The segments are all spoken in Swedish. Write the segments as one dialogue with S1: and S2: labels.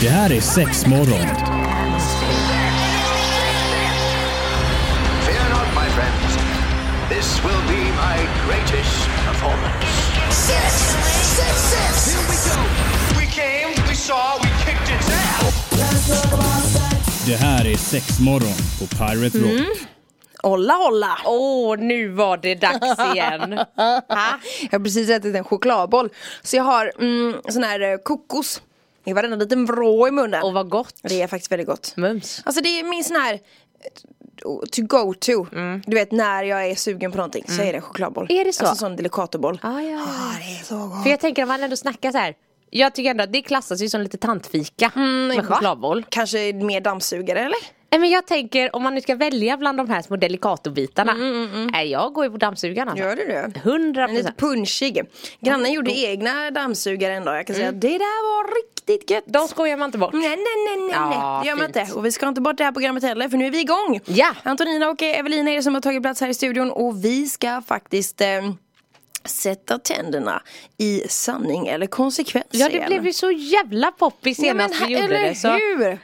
S1: Det här är sex morgon.
S2: Fear not, my friends. This will be my greatest performance.
S3: Six, six, six.
S2: We came, we saw, we kicked its ass.
S1: Det här är sex morgon på Pirate Rock.
S4: Olla, olla.
S5: Åh, nu var det dags igen.
S4: Ah, jag har precis ätit en chokladboll. Så jag har mm, sån här eh, kokos i varenda liten vrå i munnen.
S5: Och vad gott.
S4: Det är faktiskt väldigt gott.
S5: Mums.
S4: Alltså det är min sån här eh, to go to. Du vet när jag är sugen på någonting så är det en chokladboll.
S5: Mm. Är det så?
S4: Alltså sån delicatoboll.
S5: Ah, ja, ja.
S4: Ah, det är så gott.
S5: För jag tänker om man ändå snackar så här. Jag tycker ändå att det klassas ju som lite tantfika med
S4: va?
S5: chokladboll.
S4: Kanske mer dammsugare eller?
S5: Nej Eh, men jag tänker om man nu ska välja bland de här små delicatobitarna. Nej jag går ju på dammsugaren alltså.
S4: Gör du det?
S5: 100
S4: Den är lite
S5: mm, procent.
S4: punschig. Grannen gjorde egna dammsugare en dag. Jag
S5: Mm.
S4: kan säga att Mm. det där var riktigt gött.
S5: De skojar man inte bort.
S4: Nej, nej, nej, nej, nej.
S5: Ja,
S4: det gör man
S5: fint.
S4: inte. Och vi ska inte bort det här programmet heller, för nu är vi igång.
S5: Ja.
S4: Antonina och Evelina är det som har tagit plats här i studion och vi ska faktiskt eh, sätta tänderna i sanning eller konsekvens
S5: Ja det
S4: igen.
S5: blev ju så jävla poppis
S4: Ja, men
S5: senast
S4: här-
S5: vi gjorde
S4: eller
S5: det. Så
S4: hur?
S5: Då,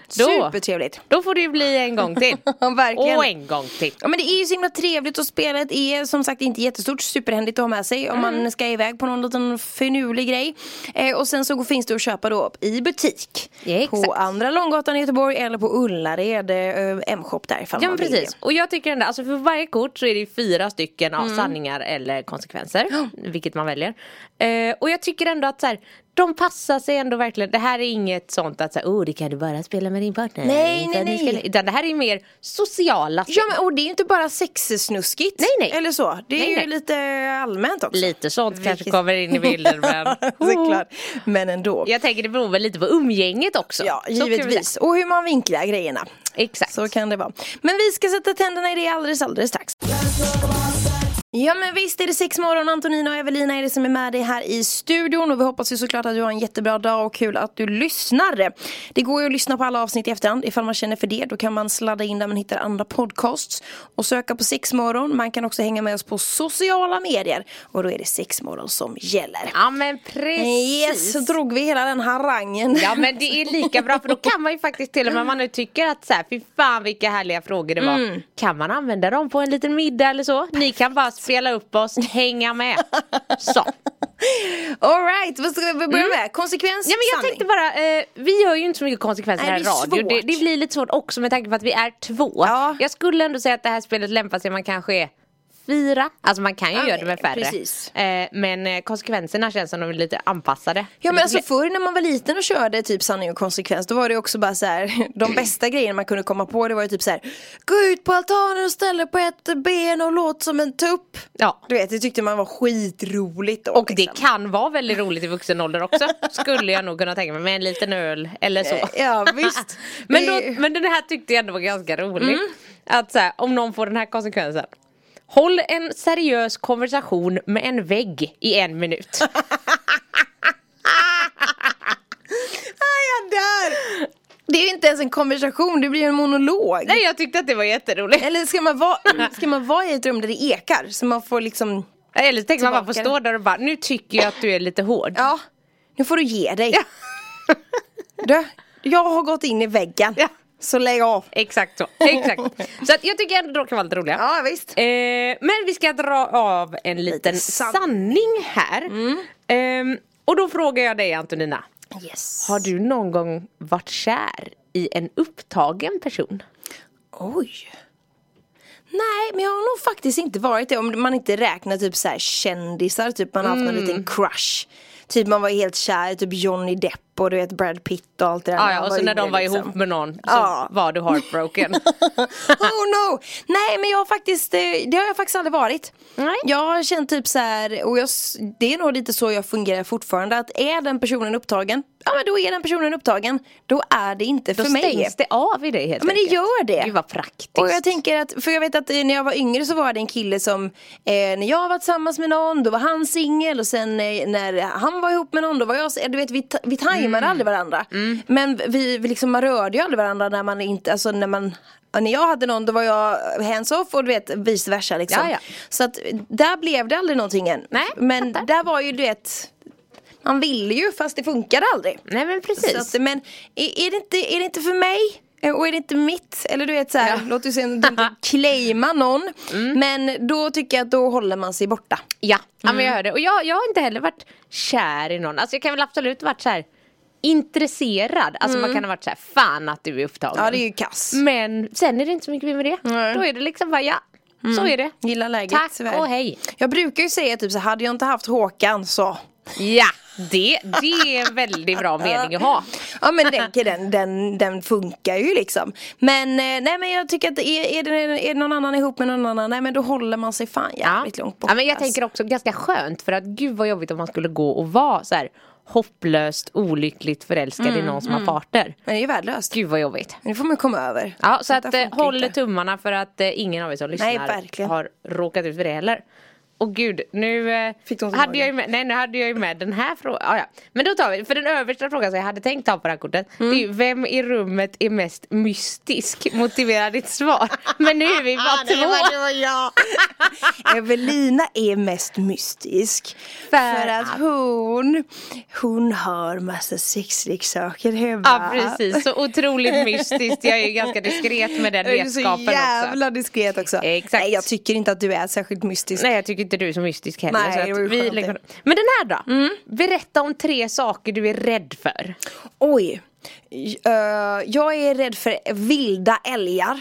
S4: Supertrevligt.
S5: Då får det ju bli en gång till.
S4: Ja, verkligen.
S5: Och en gång till.
S4: Ja men det är ju så himla trevligt och spelet är E. som sagt inte jättestort, superhändigt att ha med sig om
S5: Mm.
S4: man ska iväg på någon liten finurlig grej. Eh, och sen så går- finns det att köpa då i butik.
S5: Ja, exakt.
S4: på Andra Långgatan i Göteborg eller på Ullared eh, M-shop där ifall
S5: Ja
S4: man
S5: men
S4: vill
S5: precis. Och jag tycker ändå, alltså för varje kort så är det ju fyra stycken
S4: Mm.
S5: av sanningar eller konsekvenser. Vilket man väljer. Eh, och jag tycker ändå att så här, de passar sig ändå verkligen. Det här är inget sånt att så här, oh det kan du bara spela med din partner.
S4: Nej,
S5: Utan
S4: nej,
S5: ni
S4: nej.
S5: Ska, utan det här är mer sociala
S4: Ja men och det är ju inte bara sexsnuskigt.
S5: Nej, nej.
S4: Eller så. Det är
S5: Nej,
S4: ju
S5: nej.
S4: lite allmänt också.
S5: Lite sånt kanske
S4: Vilket-
S5: kommer in i bilden men.
S4: Såklart. Men ändå.
S5: Jag tänker det beror väl lite på umgänget också.
S4: Ja,
S5: Så kan vi
S4: givetvis.
S5: säga.
S4: Och hur man vinklar grejerna.
S5: Exakt.
S4: Så kan det vara. Men vi ska sätta tänderna i det alldeles, alldeles strax. Ja men visst är det sex morgon, Antonina och Evelina är det som är med dig här i studion och vi hoppas ju såklart att du har en jättebra dag och kul att du lyssnar. Det går ju att lyssna på alla avsnitt i efterhand ifall man känner för det. Då kan man sladda in där man hittar andra podcasts och söka på sex morgon. Man kan också hänga med oss på sociala medier och då är det sex morgon som gäller.
S5: Ja men precis.
S4: Yes, så drog vi hela den harangen.
S5: Ja men det är lika bra för då kan man ju faktiskt till och med om man nu tycker att så här, fy fan vilka härliga frågor det var.
S4: Mm.
S5: Kan man använda dem på en liten middag eller så? Ni kan bara spela upp oss, hänga med. Så.
S4: Alright, vad ska vi börja med? Konsekvens,
S5: Mm. Ja, men jag
S4: sanning.
S5: tänkte bara, eh, vi gör ju inte så mycket konsekvenser
S4: Nej,
S5: här i
S4: det är
S5: radio. Det,
S4: svårt.
S5: det blir lite svårt också med tanke på att vi är två.
S4: Ja.
S5: Jag skulle ändå säga att det här spelet lämpar sig, man kanske är fyra. Alltså man kan ju
S4: Ja,
S5: göra det med färre.
S4: precis.
S5: Eh, men eh, konsekvenserna känns som de är lite anpassade.
S4: Ja men alltså förr när man var liten och körde typ sanning och konsekvens då var det också bara så här de bästa grejerna man kunde komma på det var ju typ så här gå ut på altanen och ställ dig på ett ben och låt som en tupp.
S5: Ja.
S4: Du vet det tyckte man var skitroligt då.
S5: Och det
S4: liksom.
S5: kan vara väldigt roligt i vuxen ålder också skulle jag nog kunna tänka mig med en liten öl eller så.
S4: Eh, Ja, visst.
S5: men, då,
S4: Det- Mm.
S5: men den här tyckte jag ändå var ganska rolig. Att så här, om någon får den här konsekvensen. Håll en seriös konversation med en vägg i en minut.
S4: Ah, jag dör! Det är ju inte ens en konversation det blir ju en monolog.
S5: Nej jag tyckte att det var jätteroligt.
S4: Eller ska man, vara, ska man vara i ett rum där det ekar så man får liksom
S5: Eller så tänker man bara få
S4: Tillbaka.
S5: stå där och bara nu tycker jag att du är lite hård.
S4: Ja, nu får du ge dig. Du, jag har gått in i väggen.
S5: Ja.
S4: Så lägg av.
S5: Exakt så. Exakt. så att jag tycker ändå de kan vara lite roliga.
S4: Ja, visst.
S5: Eh, men vi ska dra av en liten
S4: san-
S5: sanning här. Ehm, och då frågar jag dig Antonina.
S4: Yes.
S5: Har du någon gång varit kär i en upptagen person?
S4: Oj. Nej, men jag har nog faktiskt inte varit det. Om man inte räknar typ så här kändisar, typ man har haft
S5: Mm.
S4: någon liten crush. Typ man var helt kär i typ Johnny Depp och du vet Brad Pitt och allt det där.
S5: Ja,
S4: han
S5: ja, och så när de
S4: yngre,
S5: var
S4: liksom.
S5: ihop med någon så
S4: Ja.
S5: var du heartbroken.
S4: oh no! Nej men jag har faktiskt, eh, det har jag faktiskt aldrig varit.
S5: Nej.
S4: Jag har känt typ så här, och jag, s- det är nog lite så jag fungerar fortfarande, att är den personen upptagen, ja men då är den personen upptagen, då är det inte
S5: Då
S4: för mig.
S5: stängs det av i dig helt
S4: Ja, men det
S5: enkelt.
S4: gör det.
S5: Gud vad praktiskt.
S4: Och jag tänker att, för jag vet att eh, när jag var yngre så var det en kille som eh, När jag var tillsammans med någon, då var han singel och sen eh, när han var ihop med någon, då var jag singel. Du vet vi, ta- vi tajmade
S5: Mm.
S4: aldrig varandra Men vi, vi liksom, man rörde ju aldrig varandra när man inte, alltså när man ja, När jag hade någon då var jag hands off och du vet vice versa liksom
S5: Ja, ja.
S4: Så att eh, där blev det aldrig någonting än
S5: Nej,
S4: Men
S5: fattar.
S4: där var ju du vet Man vill ju fast det funkar aldrig.
S5: Nej men precis.
S4: Så att, men är, är, det inte, är det inte för mig? eh, Och är det inte mitt? Eller du vet så här,
S5: Ja. Mm.
S4: låt du sen inte claima någon. Men då tycker jag att då håller man sig borta.
S5: Ja, ja
S4: Mm.
S5: men jag hör det. Och jag, jag har inte heller varit kär i någon. Alltså jag kan väl absolut varit så här intresserad. Alltså man kan ha varit så här, fan att du är upptagen.
S4: Mm. Ja det är ju kass.
S5: Men sen är det inte så mycket mer med det.
S4: Nej.
S5: Då är det liksom bara, ja, så är det.
S4: Gilla läget.
S5: Tack
S4: tyvärr.
S5: och hej.
S4: Jag brukar ju säga typ så här, hade jag inte haft Håkan så.
S5: Ja, det, det är en väldigt bra mening att ha.
S4: Ja men den, den, den, den funkar ju liksom. Men eh, nej men jag tycker att är, är, det, är det någon annan ihop med någon annan, nej men då håller man sig fan
S5: Ja.
S4: jävligt långt borta.
S5: ja, men jag tänker också ganska skönt för att gud vad jobbigt om man skulle gå och vara så här hopplöst olyckligt förälskad
S4: Mm,
S5: i någon som har farter.
S4: men det är ju värdelöst.
S5: Gud vad jobbigt.
S4: Nu får man komma över.
S5: Ja, så
S4: Detta
S5: att eh,
S4: funkar
S5: håll
S4: inte.
S5: tummarna för att eh, ingen av er som lyssnar
S4: verkligen.
S5: har råkat ut för det heller. Och gud, nu, eh,
S4: Fick de så
S5: hade
S4: många.
S5: jag ju med, nej, nu hade jag ju med den här frågan. Ah, ja. Men då tar vi, för den översta frågan som jag hade tänkt ta på det här kortet. Det
S4: Mm.
S5: är ju, vem i rummet är mest mystisk? Motivera ditt svar. Men nu är vi bara två.
S4: Evelina är mest mystisk. För, att hon, hon har massa sexleksaker hemma.
S5: Ja precis, så otroligt mystiskt. Jag är ju ganska diskret med den
S4: Du är så
S5: vetskapen också.
S4: jävla diskret också.
S5: Exakt.
S4: Nej jag tycker inte att du är särskilt mystisk.
S5: Nej jag tycker inte du är så mystisk heller.
S4: Nej, det var
S5: så
S4: ju
S5: att vi
S4: skönt Mm.
S5: lägger...
S4: det.
S5: Men den här då? Berätta om tre saker du är rädd för.
S4: Oj. J- eh, jag är rädd för vilda älgar.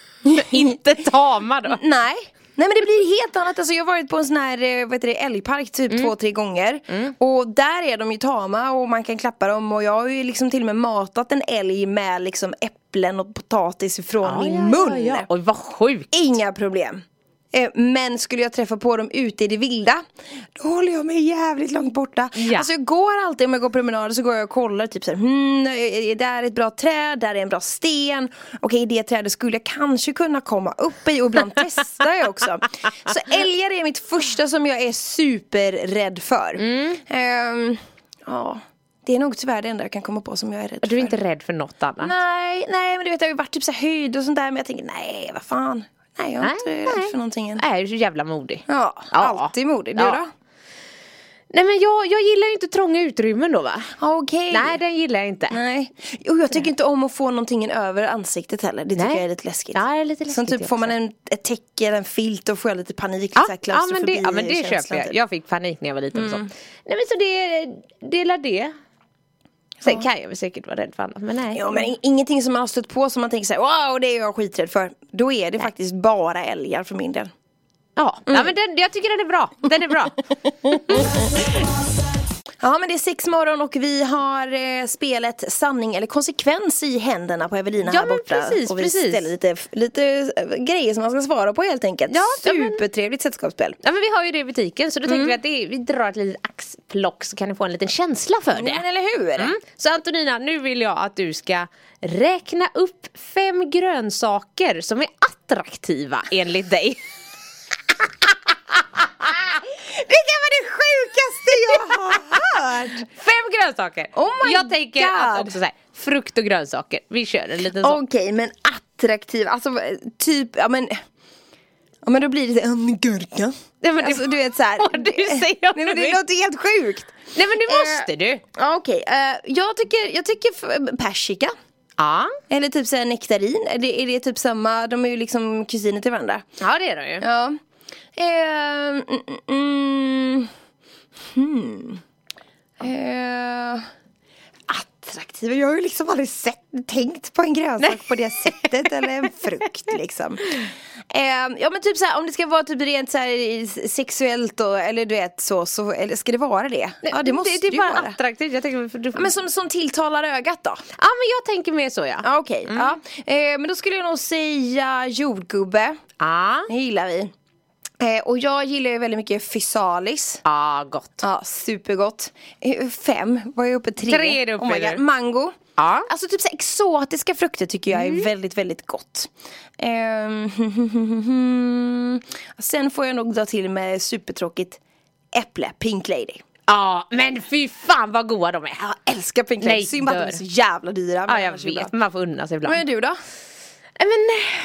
S5: inte tama då.
S4: Nej. Nej men det blir helt annat, alltså jag har varit på en sån här eh, vad heter det, älgpark typ två, tre gånger Och där är de ju tama och man kan klappa dem och jag har ju liksom till och med matat en älg med liksom äpplen och potatis ifrån
S5: Ah,
S4: min mun
S5: Oj vad sjukt.
S4: Inga problem Eh, men skulle jag träffa på dem ute i det vilda Då håller jag mig jävligt långt borta
S5: Ja.
S4: Alltså jag går alltid om jag går promenader så går jag och kollar typ såhär hmm, är- är Där är ett bra träd, där är en bra sten Okej det trädet skulle jag kanske kunna komma upp i och ibland testar jag också Så älgar är mitt första som jag är superrädd för
S5: Mm.
S4: Ehm, Ja Det är nog tyvärr det enda jag kan komma på som jag är rädd
S5: Du är
S4: för
S5: inte rädd för något annat?
S4: Nej, nej men du vet jag har ju varit typ så här höjd och sånt där men jag tänker nej vad fan. Nej jag är inte rädd för någonting än.
S5: Nej, du är så jävla modig.
S4: Ja, alltid modig. Du
S5: Ja.
S4: då?
S5: Nej men jag, jag gillar ju inte trånga utrymmen då va?
S4: Ja, Okej.
S5: Nej den gillar jag inte.
S4: Nej. Jo, jag tycker inte om att få någonting över ansiktet heller. Det tycker
S5: Nej.
S4: jag är lite läskigt.
S5: Ja, det är lite läskigt
S4: Som typ
S5: det
S4: får man
S5: också.
S4: en, ett täcke eller en filt och får jag lite panik.
S5: Ja,
S4: lite så här
S5: ja men det, ja, men det
S4: klaustrofobi-känslan
S5: köper jag.
S4: typ.
S5: Jag fick panik när jag var liten och så.
S4: Mm.
S5: Nej men så det, det är la det. Sen kan jag väl säkert vara rädd för annat men nej.
S4: Ja men in- ingenting som man har stött på som man tänker såhär wow det är jag skiträdd för. Då är det faktiskt bara älgar för min del.
S5: Ja,
S4: Mm.
S5: ja men den, jag tycker den är bra. Den är bra.
S4: Ja men det är sex morgon och vi har eh, spelet sanning eller konsekvens i händerna på Evelina
S5: Ja,
S4: här
S5: men
S4: borta.
S5: precis,
S4: och vi
S5: precis.
S4: ställer lite, lite eh, grejer som man ska svara på helt enkelt.
S5: Ja, ja, men-
S4: Supertrevligt sällskapsspel.
S5: Ja men vi har ju det i butiken så då
S4: Mm.
S5: tänkte vi att det, är- vi drar ett litet axplock så kan ni få en liten känsla för det.
S4: Men eller hur?
S5: Mm. Så Antonina, nu vill jag att du ska räkna upp fem grönsaker som är attraktiva enligt dig.
S4: Det kan vara det sjukaste jag har hört!
S5: Fem grönsaker!
S4: Oh my
S5: jag tänker att
S4: God.
S5: också så här, frukt och grönsaker. Vi kör en liten sån.
S4: Okej men attraktiv, alltså eh, typ, ja men Ja men då blir det så här, en gurka.
S5: Nej, men det-
S4: alltså, du vet såhär.
S5: Vad du säger om
S4: Nej men
S5: det.
S4: det låter helt sjukt.
S5: Nej men
S4: eh,
S5: nu måste du!
S4: Ja, Okej, eh, jag tycker, jag tycker f- eh, persika.
S5: Ja.
S4: Eller typ såhär nektarin, är det, är det typ samma, de är ju liksom kusiner till varandra.
S5: ja det är de ju.
S4: Ja. Ehm, mm, mm, hmm. Eh, attraktiva, jag har ju liksom aldrig sett, tänkt på en grönsak på det sättet eller en frukt liksom. Ehm, ja men typ såhär om det ska vara typ rent såhär sexuellt och, eller du vet så, så eller ska det vara det? ja det måste
S5: det, är
S4: ju
S5: bara
S4: vara.
S5: attraktivt. Jag tänker, för du...
S4: Ja, men som, som tilltalar ögat då?
S5: ja men jag tänker mer så ja.
S4: Ja okej, ja. Eh, men då skulle jag nog säga jordgubbe.
S5: Ja.
S4: Det gillar vi. Eh, och jag gillar ju väldigt mycket fysalis.
S5: Ja, gott.
S4: Ja, supergott. Eh, Fem, var jag uppe tre? Oh
S5: Tre är du uppe
S4: my
S5: nu.
S4: God. Mango.
S5: Ja.
S4: Alltså typ så här exotiska frukter tycker jag
S5: Mm.
S4: är väldigt, väldigt gott. Ehm, Sen får jag nog dra till med supertråkigt äpple, Pink Lady.
S5: Ja, men fy fan vad goda de är.
S4: Jag älskar Pink Lady,
S5: Nej,
S4: synd bara att de
S5: dör.
S4: är så jävla dyra. men
S5: Ja, jag
S4: annars är det
S5: vet.
S4: bra.
S5: Man får unna sig ibland.
S4: Vad är du då?
S5: Nej, Men,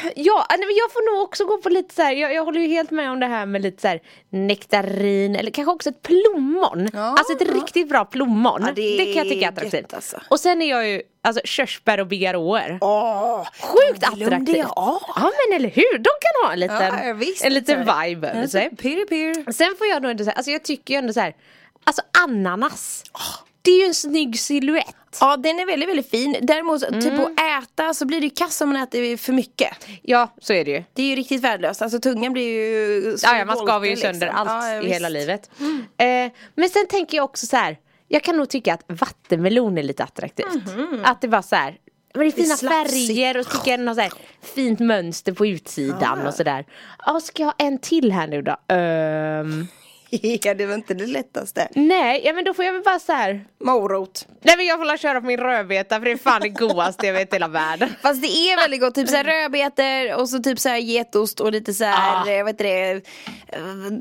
S5: eh, ja, nej, men jag får nog också gå på lite så här. Jag, jag håller ju helt med om det här med lite så här nektarin eller kanske också ett plommon.
S4: Ja.
S5: alltså ett riktigt bra plommon.
S4: Ja, det
S5: det, kan jag tycka är
S4: är
S5: attraktivt.
S4: gött, alltså.
S5: Och sen är jag ju, alltså körsbär och bigarråer.
S4: Åh,
S5: Sjukt
S4: glömde jag
S5: attraktivt.
S4: av.
S5: Ja men eller hur, de kan ha en liten,
S4: Ja, visst. alltså.
S5: en liten vibe över sig.
S4: Pirr, pirr.
S5: Sen får jag nog ändå säga, alltså jag tycker ju ändå så här, alltså ananas.
S4: Ah.
S5: Det är ju en snygg silhuett.
S4: Ja, den är väldigt, väldigt fin. Däremot,
S5: Mm.
S4: typ att äta så blir det ju kass om man äter för mycket.
S5: Ja, så är det ju.
S4: Det är ju riktigt värdelöst. Alltså tungan blir ju...
S5: Ja, ja, man skaver ju
S4: liksom.
S5: sönder allt
S4: Ja, ja,
S5: i hela
S4: visst. Mm.
S5: livet. Eh, men sen tänker jag också så här, jag kan nog tycka att vattenmelon är lite attraktivt. Att det bara så här, men det är fina
S4: Mhm. slafsigt.
S5: färger och så tycker jag den har så här fint mönster på utsidan och sådär. Ja, ska jag ha en till här nu då? Ehm,
S4: Ja, det var inte det lättaste.
S5: nej, ja men då får jag väl bara så här.
S4: Morot.
S5: Nej men jag får la köra på min rödbeta för det är fan det godaste jag vet i hela världen.
S4: Fast det är väldigt gott, typ såhär rödbetor och så typ såhär getost och lite
S5: Mm. Ah.
S4: såhär, eh, vad heter det,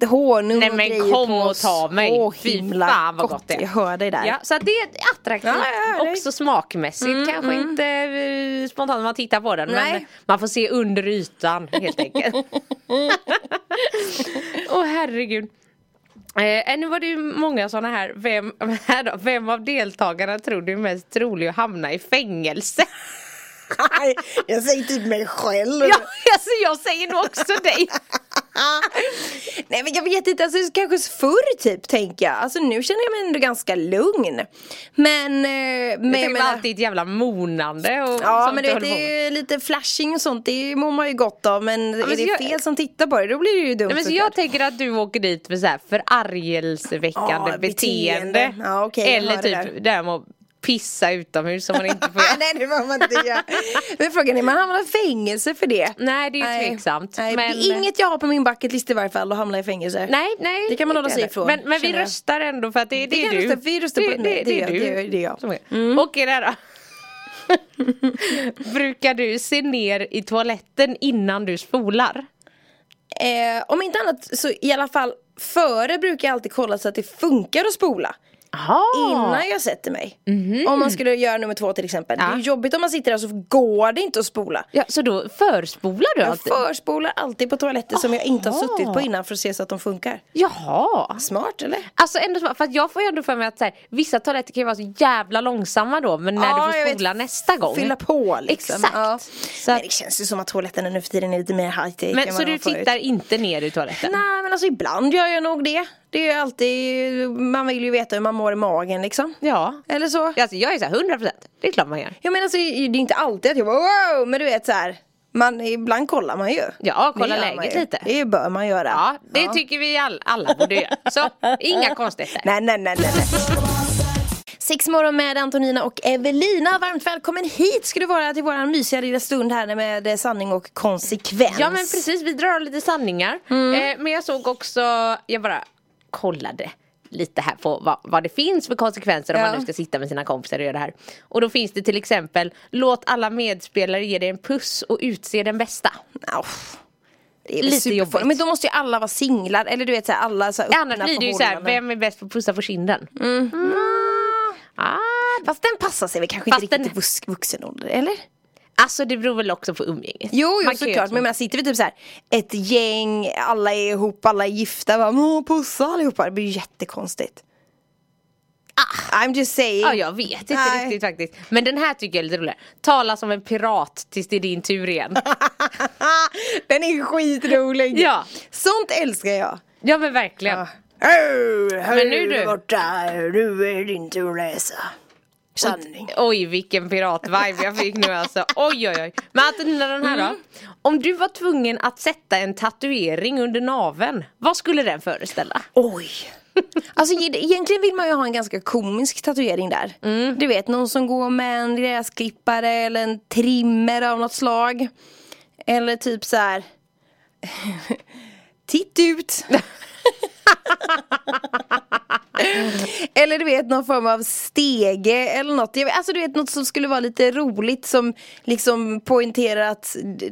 S4: eh, honung
S5: Nej,
S4: och
S5: men
S4: grejer
S5: kom
S4: på.
S5: och ta mig.
S4: Så
S5: Fy
S4: himla
S5: fan, vad gott det är.
S4: Jag hör dig där.
S5: Ja, så att det är attraktivt
S4: Ja, jag hör dig. Mm,
S5: också smakmässigt. Kanske inte eh, spontant när man tittar på den men
S4: Nej.
S5: man får se under ytan helt enkelt. Åh herregud. Eh, nu var det ju många sådana här. Vem, här då, vem av deltagarna tror du är mest trolig att hamna i fängelse?
S4: Nej, jag säger typ mig själv.
S5: ja, alltså, jag säger nog också dig.
S4: Nej men jag vet inte, alltså kanske förr typ tänker jag. Alltså nu känner jag mig ändå ganska lugn. Men, eh, men
S5: Men jag menar, alltid ett jävla monande och
S4: Ja
S5: sånt
S4: men du vet
S5: håller på med.
S4: det är ju lite flashing och sånt, det mår man ju gott av men,
S5: men
S4: är
S5: så
S4: det
S5: jag-
S4: fel som tittar på det då blir det ju dumt
S5: Nej, men så
S4: såklart.
S5: jag tänker att du åker dit för så här förargelseväckande
S4: Ja,
S5: beteende.
S4: beteende. Ja, okej, jag
S5: Eller
S4: hör
S5: typ
S4: det
S5: det där med att pissa utomhus som man inte får göra.
S4: Ah, Nej det får man inte göra. Men frågan är, man hamnar i fängelse för det?
S5: Nej Mm, det är ju tveksamt.
S4: Nej,
S5: men...
S4: Det är inget jag har på min bucketlist i varje fall att hamna i fängelse.
S5: Nej, nej.
S4: Det kan man hålla sig ifrån,
S5: Men, men vi
S4: känner jag.
S5: röstar ändå för att det, det,
S4: Vi
S5: är
S4: kan
S5: du.
S4: rösta- vi röstar på- nej, det är jag, det är- det är jag. Mm.
S5: Som Okej där då. Brukar du se ner i toaletten innan du spolar?
S4: Eh, om inte annat så i alla fall före brukar jag alltid kolla så att det funkar att spola.
S5: Jaha!
S4: Innan jag sätter mig.
S5: Mhm.
S4: Om man skulle göra nummer två till exempel.
S5: Ja.
S4: Det är ju jobbigt om man sitter där så går det inte att spola.
S5: Ja, så då förspolar du
S4: Jag
S5: alltid?
S4: förspolar alltid på toaletter som jag inte har
S5: Aha.
S4: suttit på innan för att se så att de funkar.
S5: Jaha!
S4: Smart eller?
S5: Alltså ändå smart, för att jag får ju ändå för mig att så här, vissa toaletter kan ju vara så jävla långsamma då men när
S4: Ja,
S5: du
S4: jag
S5: får
S4: vet.
S5: spola nästa gång.
S4: Fylla på liksom.
S5: Exakt.
S4: Ja.
S5: Så,
S4: Men
S5: att,
S4: det känns ju som att toaletterna nu för tiden är lite mer high tech
S5: men, så du tittar inte ner i toaletten?
S4: Nej men alltså ibland gör jag nog det. Det är ju alltid, man vill ju veta hur man mår i magen liksom.
S5: Ja.
S4: Eller så.
S5: Alltså jag är så här 100% det är klart man gör.
S4: Jag menar så det är inte alltid att jag bara wow, men du vet så här. Man, ibland kollar man ju.
S5: Ja, kolla
S4: Det gör man
S5: läget
S4: ju.
S5: lite.
S4: Det bör man göra.
S5: Ja, det tycker vi all, alla borde göra. Så inga konstigheter.
S4: Nej, nej, nej, nej. nej. Sex morgon med Antonina och Evelina. Varmt välkommen hit ska du vara till våran mysiga lilla stund här med eh, sanning och konsekvens.
S5: Ja men precis, vi drar lite sanningar.
S4: Mm.
S5: Eh, men jag såg också, jag bara kollade lite här på vad, vad det finns för konsekvenser om
S4: Ja.
S5: man nu ska sitta med sina kompisar och göra det här. Och då finns det till exempel, låt alla medspelare ge dig en puss och utse den bästa.
S4: Au. Det är väl
S5: Lite
S4: superfå-
S5: jobbigt.
S4: Men då måste ju alla vara singlar. Eller du vet så här, alla så här, öppna
S5: Annars blir det ju såhär,
S4: förhållanden.
S5: vem är bäst på att pussa på kinden?
S4: Mm.
S5: Mm. Ah,
S4: Fast den passar sig väl kanske
S5: Fast
S4: inte
S5: den-
S4: riktigt i vux- vuxen ålder, eller?
S5: alltså det beror väl också på umgänget.
S4: Jo, jo
S5: Man kan ju
S4: såklart.
S5: inte-
S4: Men man sitter vi typ så här, ett gäng, alla är ihop, alla är gifta. Bara, "Åh, pussa allihopa. Det blir ju jättekonstigt. I'm just saying.
S5: Ja, jag vet inte
S4: Nej.
S5: riktigt faktiskt. Men den här tycker jag är lite roligare. Tala som en pirat tills det är din tur igen.
S4: den är skitrolig.
S5: Ja.
S4: Sånt älskar jag.
S5: ja men verkligen.
S4: Ja. Hej, hej
S5: Men nu du.
S4: borta, nu är det inte att läsa. Sanning.
S5: Oj vilken piratvibe jag fick nu alltså. Oj oj oj. Men Antonina den här då. Om du var tvungen att sätta en tatuering under naveln. Vad skulle den föreställa?
S4: Oj. Alltså e- egentligen vill man ju ha en ganska komisk tatuering där.
S5: Mm.
S4: Du vet någon som går med en gräsklippare eller en trimmer av något slag. Eller typ så här. Titt ut. eller du vet någon form av stege eller något. Jag vet- Alltså du vet något som skulle vara lite roligt som liksom poängterar att d-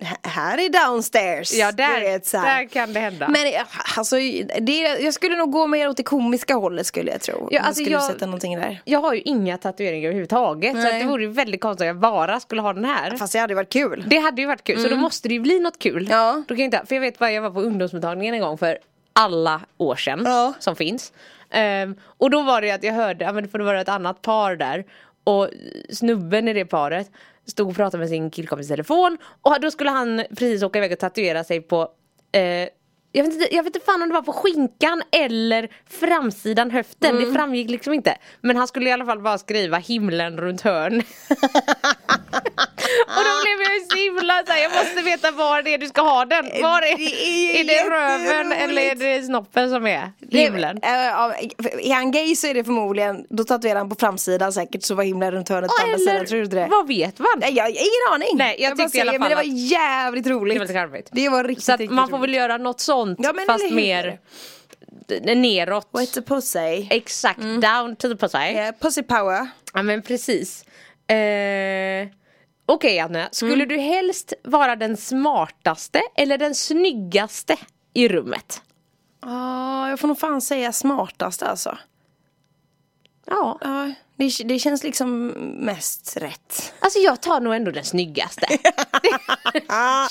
S4: h- här är downstairs.
S5: Ja,
S4: Du
S5: där,
S4: vet, så här.
S5: där kan det hända.
S4: Men eh, alltså, det, är- jag skulle nog gå mer åt det komiska hållet skulle jag tro.
S5: Ja,
S4: Om
S5: alltså,
S4: skulle
S5: jag-
S4: sätta någonting där.
S5: jag har ju inga tatueringar överhuvudtaget så
S4: Nej.
S5: att det vore ju väldigt konstigt att jag bara skulle ha den här.
S4: Fast det hade varit kul. Mm.
S5: Det hade ju varit kul, så då måste det ju bli något kul.
S4: Ja.
S5: Då kan jag, inte, för jag vet bara, jag var på ungdomsmottagningen en gång för alla år sedan
S4: Ja.
S5: som finns. Ehm, och då var det ju att jag hörde, ja, men för det var ett annat par där och snubben i det paret stod och pratade med sin killkompis i telefon och då skulle han precis åka iväg och tatuera sig på eh, jag vet, inte, jag vet inte fan om det var på skinkan eller framsidan höften,
S4: Mm.
S5: det framgick liksom inte. Men han skulle i alla fall bara skriva himlen runt hörn. Och då blev jag ju så himla såhär, jag måste veta var det är du ska ha den. Var är,
S4: Det är ju
S5: är, Eh, det röven
S4: jätteroligt.
S5: eller är det snoppen som är himlen?
S4: Det, eh, ja, är han gay så är det förmodligen, då tatuerar han på framsidan säkert så var himlen runt hörnet på andra sidan, tror du inte det?
S5: vad vet man?
S4: Nej, jag har ingen aning.
S5: Nej, jag
S4: bara
S5: tyckte i alla
S4: säger, Men det
S5: fall
S4: var jävligt roligt.
S5: Det var lite charmigt.
S4: Det var riktigt,
S5: Så att
S4: riktigt
S5: man får väl
S4: roligt.
S5: göra något sånt
S4: Ja, men
S5: fast
S4: eller hur?
S5: mer d- neråt.
S4: What Mm. a pussy.
S5: Exakt, down to the pussy.
S4: Eh, Pussy power.
S5: Ja men precis. Eh, Okej Anna, skulle du helst vara den smartaste eller den snyggaste i rummet?
S4: Ja, Ah, jag får nog fan säga smartast alltså.
S5: Ja.
S4: Ja, det, det känns liksom mest rätt.
S5: Alltså jag tar nog ändå den snyggaste. Det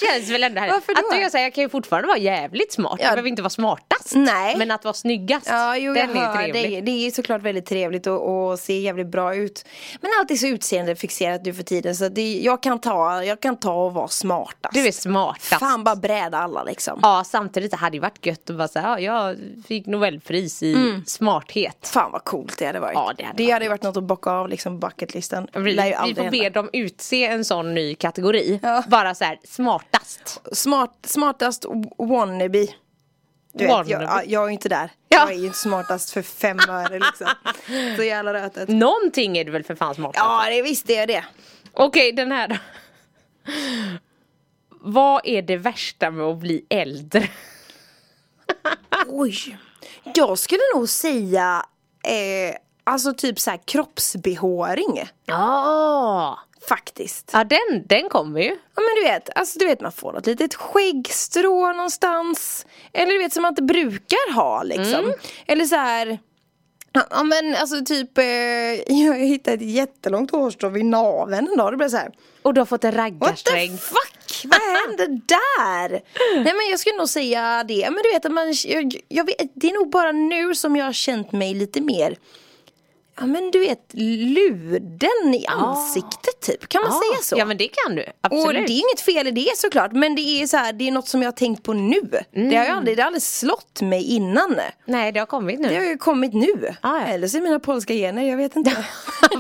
S5: Känns väl ändå här.
S4: Varför då?
S5: Att jag, säger, jag kan ju fortfarande vara jävligt smart.
S4: Ja.
S5: Jag behöver inte vara smartast.
S4: Nej.
S5: Men att vara snyggast.
S4: Ja, jo,
S5: den
S4: jag
S5: är
S4: hör
S5: trevlig.
S4: dig. Det är ju såklart väldigt trevligt och, och ser jävligt bra ut. Men allt är så utseendefixerat nu för tiden så det, jag, kan ta, jag kan ta och vara smartast.
S5: Du är smartast.
S4: Fan bara bräda alla liksom.
S5: Ja samtidigt det hade det varit gött att bara säga ja, jag fick nobelpris i
S4: Mm.
S5: smarthet.
S4: Fan vad coolt det hade varit.
S5: Ja, det hade
S4: det hade ju varit något att bocka av liksom bucketlistan.
S5: Vi,
S4: Lär ju
S5: vi
S4: aldrig
S5: får be
S4: hända.
S5: dem utse en sån ny kategori.
S4: Ja.
S5: Bara så här smartast.
S4: Smart, smartast wannabe. Du vet, jag,
S5: Wannabe.
S4: ja, jag är ju inte där.
S5: Ja.
S4: Jag är ju inte smartast för fem öre liksom. Så jävla rötet.
S5: Någonting är du väl för fan smartast?
S4: Ja, det visste jag det.
S5: Okej, den här då. Vad är det värsta med att bli äldre?
S4: Oj. Jag skulle nog säga, eh, alltså typ så här kroppsbehåring.
S5: Ja,
S4: Faktiskt.
S5: ja den, den kommer ju.
S4: Ja men du vet, alltså du vet man får något litet skäggstrå någonstans. Eller du vet som man inte brukar ha liksom. Eller så här. ja, Ja men alltså typ, eh, jag hittade ett jättelångt hårstrå vid naveln en dag. Det blev så här.
S5: Och du har fått en
S4: What the
S5: raggarsträng.
S4: fuck? Vad hände där? Nej men jag skulle nog säga det. Men du vet att man, jag, jag vet, det är nog bara nu som jag har känt mig lite mer Ja men du vet luden i ansiktet typ, kan man
S5: Ja,
S4: säga så?
S5: Ja men det kan du,
S4: Och
S5: absolut.
S4: det är inget fel i det såklart men det är så här, det är något som jag har tänkt på nu. Det har ju aldrig, det har aldrig slått mig innan.
S5: Nej det har kommit nu.
S4: Det har ju kommit nu.
S5: Ah, ja.
S4: Eller så är mina polska gener, jag vet inte.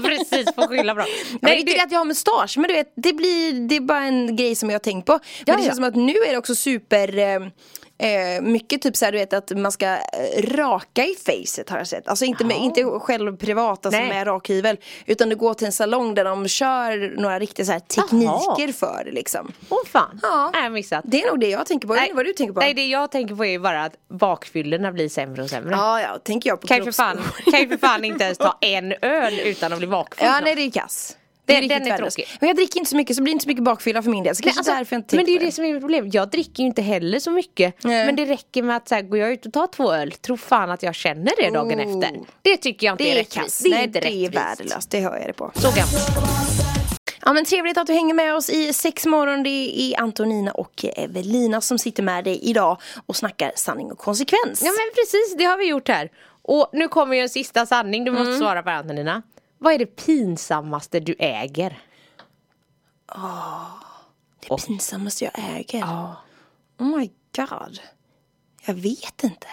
S5: Precis, får skylla bra.
S4: Nej,
S5: Nej,
S4: det är inte
S5: du,
S4: det att jag har mustasch men du vet det blir, det är bara en grej som jag har tänkt på. Men det
S5: ja.
S4: känns som att nu är det också super eh, eh, mycket typ såhär du vet att man ska eh, raka i facet har jag sett. Alltså inte, med, inte själv privat alltså
S5: Nej.
S4: med rakhyvel. Utan du går till en salong där de kör några riktiga så här tekniker för det liksom.
S5: åh fan.
S4: Ja.
S5: Nej, jag har missat.
S4: Det är nog det jag tänker på. Jag vet inte vad du tänker på.
S5: Nej det jag tänker på är ju bara att bakfyllorna blir sämre och sämre.
S4: Ja ja, tänker jag på
S5: Kan ju för fan,
S4: kroppsbehåring.
S5: kan ju för fan inte ens ta en öl utan att bli bakfull.
S4: Ja nej det är kass.
S5: Den-
S4: riktigt
S5: den är
S4: värdelöst.
S5: tråkig.
S4: Men jag dricker inte så mycket så blir det inte så mycket bakfylla för min del. Så
S5: Nej,
S4: kanske
S5: alltså,
S4: därför jag inte
S5: men det är
S4: tänker på
S5: ju det som är mitt problem. Jag dricker ju inte heller så mycket.
S4: Nej.
S5: Men det räcker med att så här, går jag ut och tar två öl, tro fan att jag känner det dagen
S4: Oh.
S5: efter. Det tycker jag inte
S4: Det är
S5: rättvist.
S4: kass.
S5: Det är
S4: Nej,
S5: inte
S4: det är
S5: rättvist.
S4: värdelöst. Det hör jag det på.
S5: Så gammalt.
S4: Ja, men trevligt att du hänger med oss i sex morgon. Det är Antonina och Evelina som sitter med dig idag och snackar sanning och konsekvens.
S5: Ja men precis, det har vi gjort här. Och nu kommer ju en sista sanning, du måste
S4: Mm.
S5: svara på den Antonina. Vad är det pinsammaste du äger?
S4: det pinsammaste jag äger. Oh my god. Jag vet inte.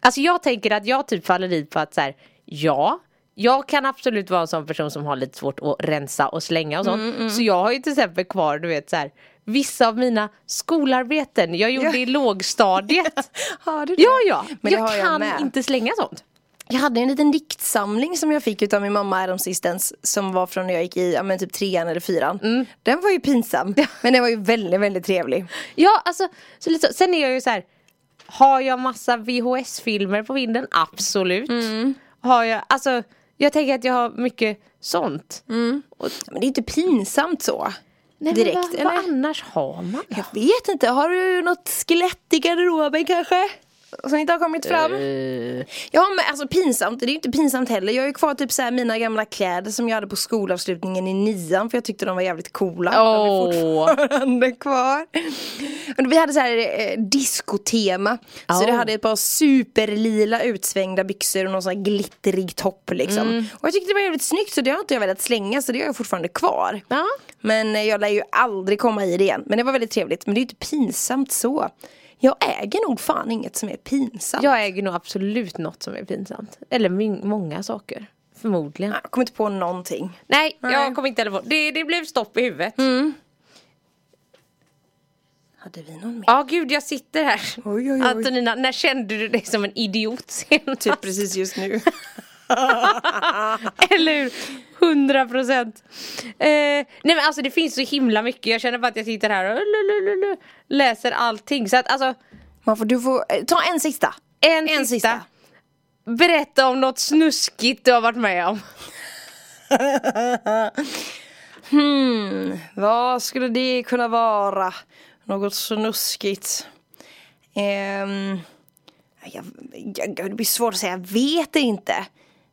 S5: Alltså jag tänker att jag typ faller dit på att så här, ja, jag kan absolut vara en sån person som har lite svårt att rensa och slänga och sånt.
S4: Mm,
S5: Så jag har ju till exempel kvar, du vet så här, vissa av mina skolarbeten jag gjorde i lågstadiet.
S4: Har du det?
S5: Ja, ja,
S4: Men det
S5: jag
S4: har jag
S5: kan
S4: med.
S5: inte slänga sånt.
S4: Jag hade en liten diktsamling som jag fick utav min mamma häromsistens som var från när jag gick i ja, men typ trean eller fyran. Den var ju pinsam, men den var ju väldigt, väldigt trevlig.
S5: Ja, alltså, så lite så. sen är jag ju så här, har jag massa VHS-filmer på vinden? Absolut.
S4: Mm.
S5: Har jag, alltså, jag tänker att jag har mycket sånt.
S4: Men det är inte pinsamt så.
S5: Nej,
S4: Mm. direkt,
S5: men vad,
S4: eller?
S5: vad annars har man?
S4: Jag vet inte, har du något skelett i garderoben kanske? Som inte har kommit fram? Ja men alltså pinsamt, det är ju inte pinsamt heller. Jag har ju kvar typ så här mina gamla kläder som jag hade på skolavslutningen i nian för jag tyckte de var jävligt coola. De är
S5: Åh.
S4: fortfarande kvar. Men Vi hade så här eh, diskotema. Så
S5: Oh.
S4: det hade ett par superlila utsvängda byxor och någon sån här glittrig topp liksom. Och jag tyckte det var jävligt snyggt så det har inte jag velat slänga så det har jag fortfarande kvar.
S5: Ja.
S4: Men eh, jag lär ju aldrig komma i det igen. Men det var väldigt trevligt. Men det är ju inte pinsamt så. Jag äger nog fan inget som är pinsamt.
S5: Jag äger nog absolut något som är pinsamt. Eller min- många saker. Förmodligen.
S4: Jag kommer inte på någonting.
S5: Nej,
S4: Nej. Mm.
S5: jag kommer inte heller på. Det, det blev stopp i huvudet.
S4: Hade vi någon mer?
S5: Ja, gud jag sitter här.
S4: Oj, oj, oj.
S5: Antonina, när kände du dig som en idiot senast?
S4: Typ precis just nu.
S5: Eller hur? 100 procent. Eh, nej men alltså det finns så himla mycket. Jag känner bara att jag sitter här och lulululu, läser allting. Så att alltså,
S4: Man får, du får, eh, ta en sista. En
S5: en, sista.
S4: sista.
S5: Berätta om något snuskigt du har varit med om.
S4: Hmm, vad skulle det kunna vara? Något snuskigt. Ehm, jag, jag, det blir svårt att säga, jag vet inte.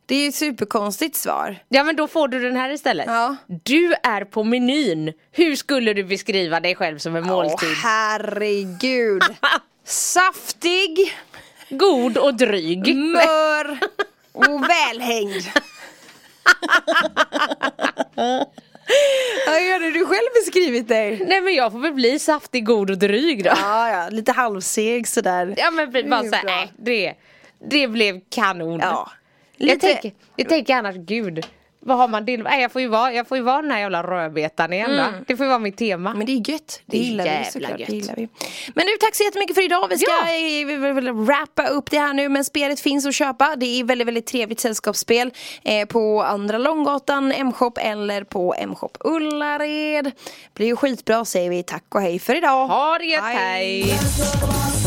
S4: Det är ju ett superkonstigt svar.
S5: Ja men då får du den här istället.
S4: Ja.
S5: Du är på menyn. Hur skulle du beskriva dig själv som en måltid?
S4: Åh herregud. Saftig,
S5: God och dryg.
S4: mör och välhängd. Ja, Hur hade du själv beskrivit dig?
S5: Nej men jag får väl bli saftig, god och dryg då.
S4: Ja, ja, lite halvseg sådär.
S5: Ja men
S4: är
S5: bara
S4: ju
S5: såhär,
S4: bra.
S5: nej det, det blev kanon.
S4: Ja.
S5: Jag,
S4: Lite-
S5: tänker, jag tänker annars, gud. Vad har man till? Nej, jag, får ju vara, jag får ju vara den här jävla rödbetan igen
S4: Mm.
S5: va? Det får ju vara mitt tema.
S4: Men det är gött. Det,
S5: Det är
S4: gillar vi
S5: jävla
S4: såklart.
S5: gött.
S4: Det gillar vi. Men du, tack så jättemycket för idag. Vi ska
S5: Ja.
S4: eh, vi vill wrappa upp det här nu. Men spelet finns att köpa. Det är väldigt, väldigt trevligt sällskapsspel. Eh, på Andra Långgatan, M-shop eller på M-shop Ullared. Blir ju skitbra säger vi tack och hej för idag.
S5: ha det gött, hej!
S3: Let's go, boss.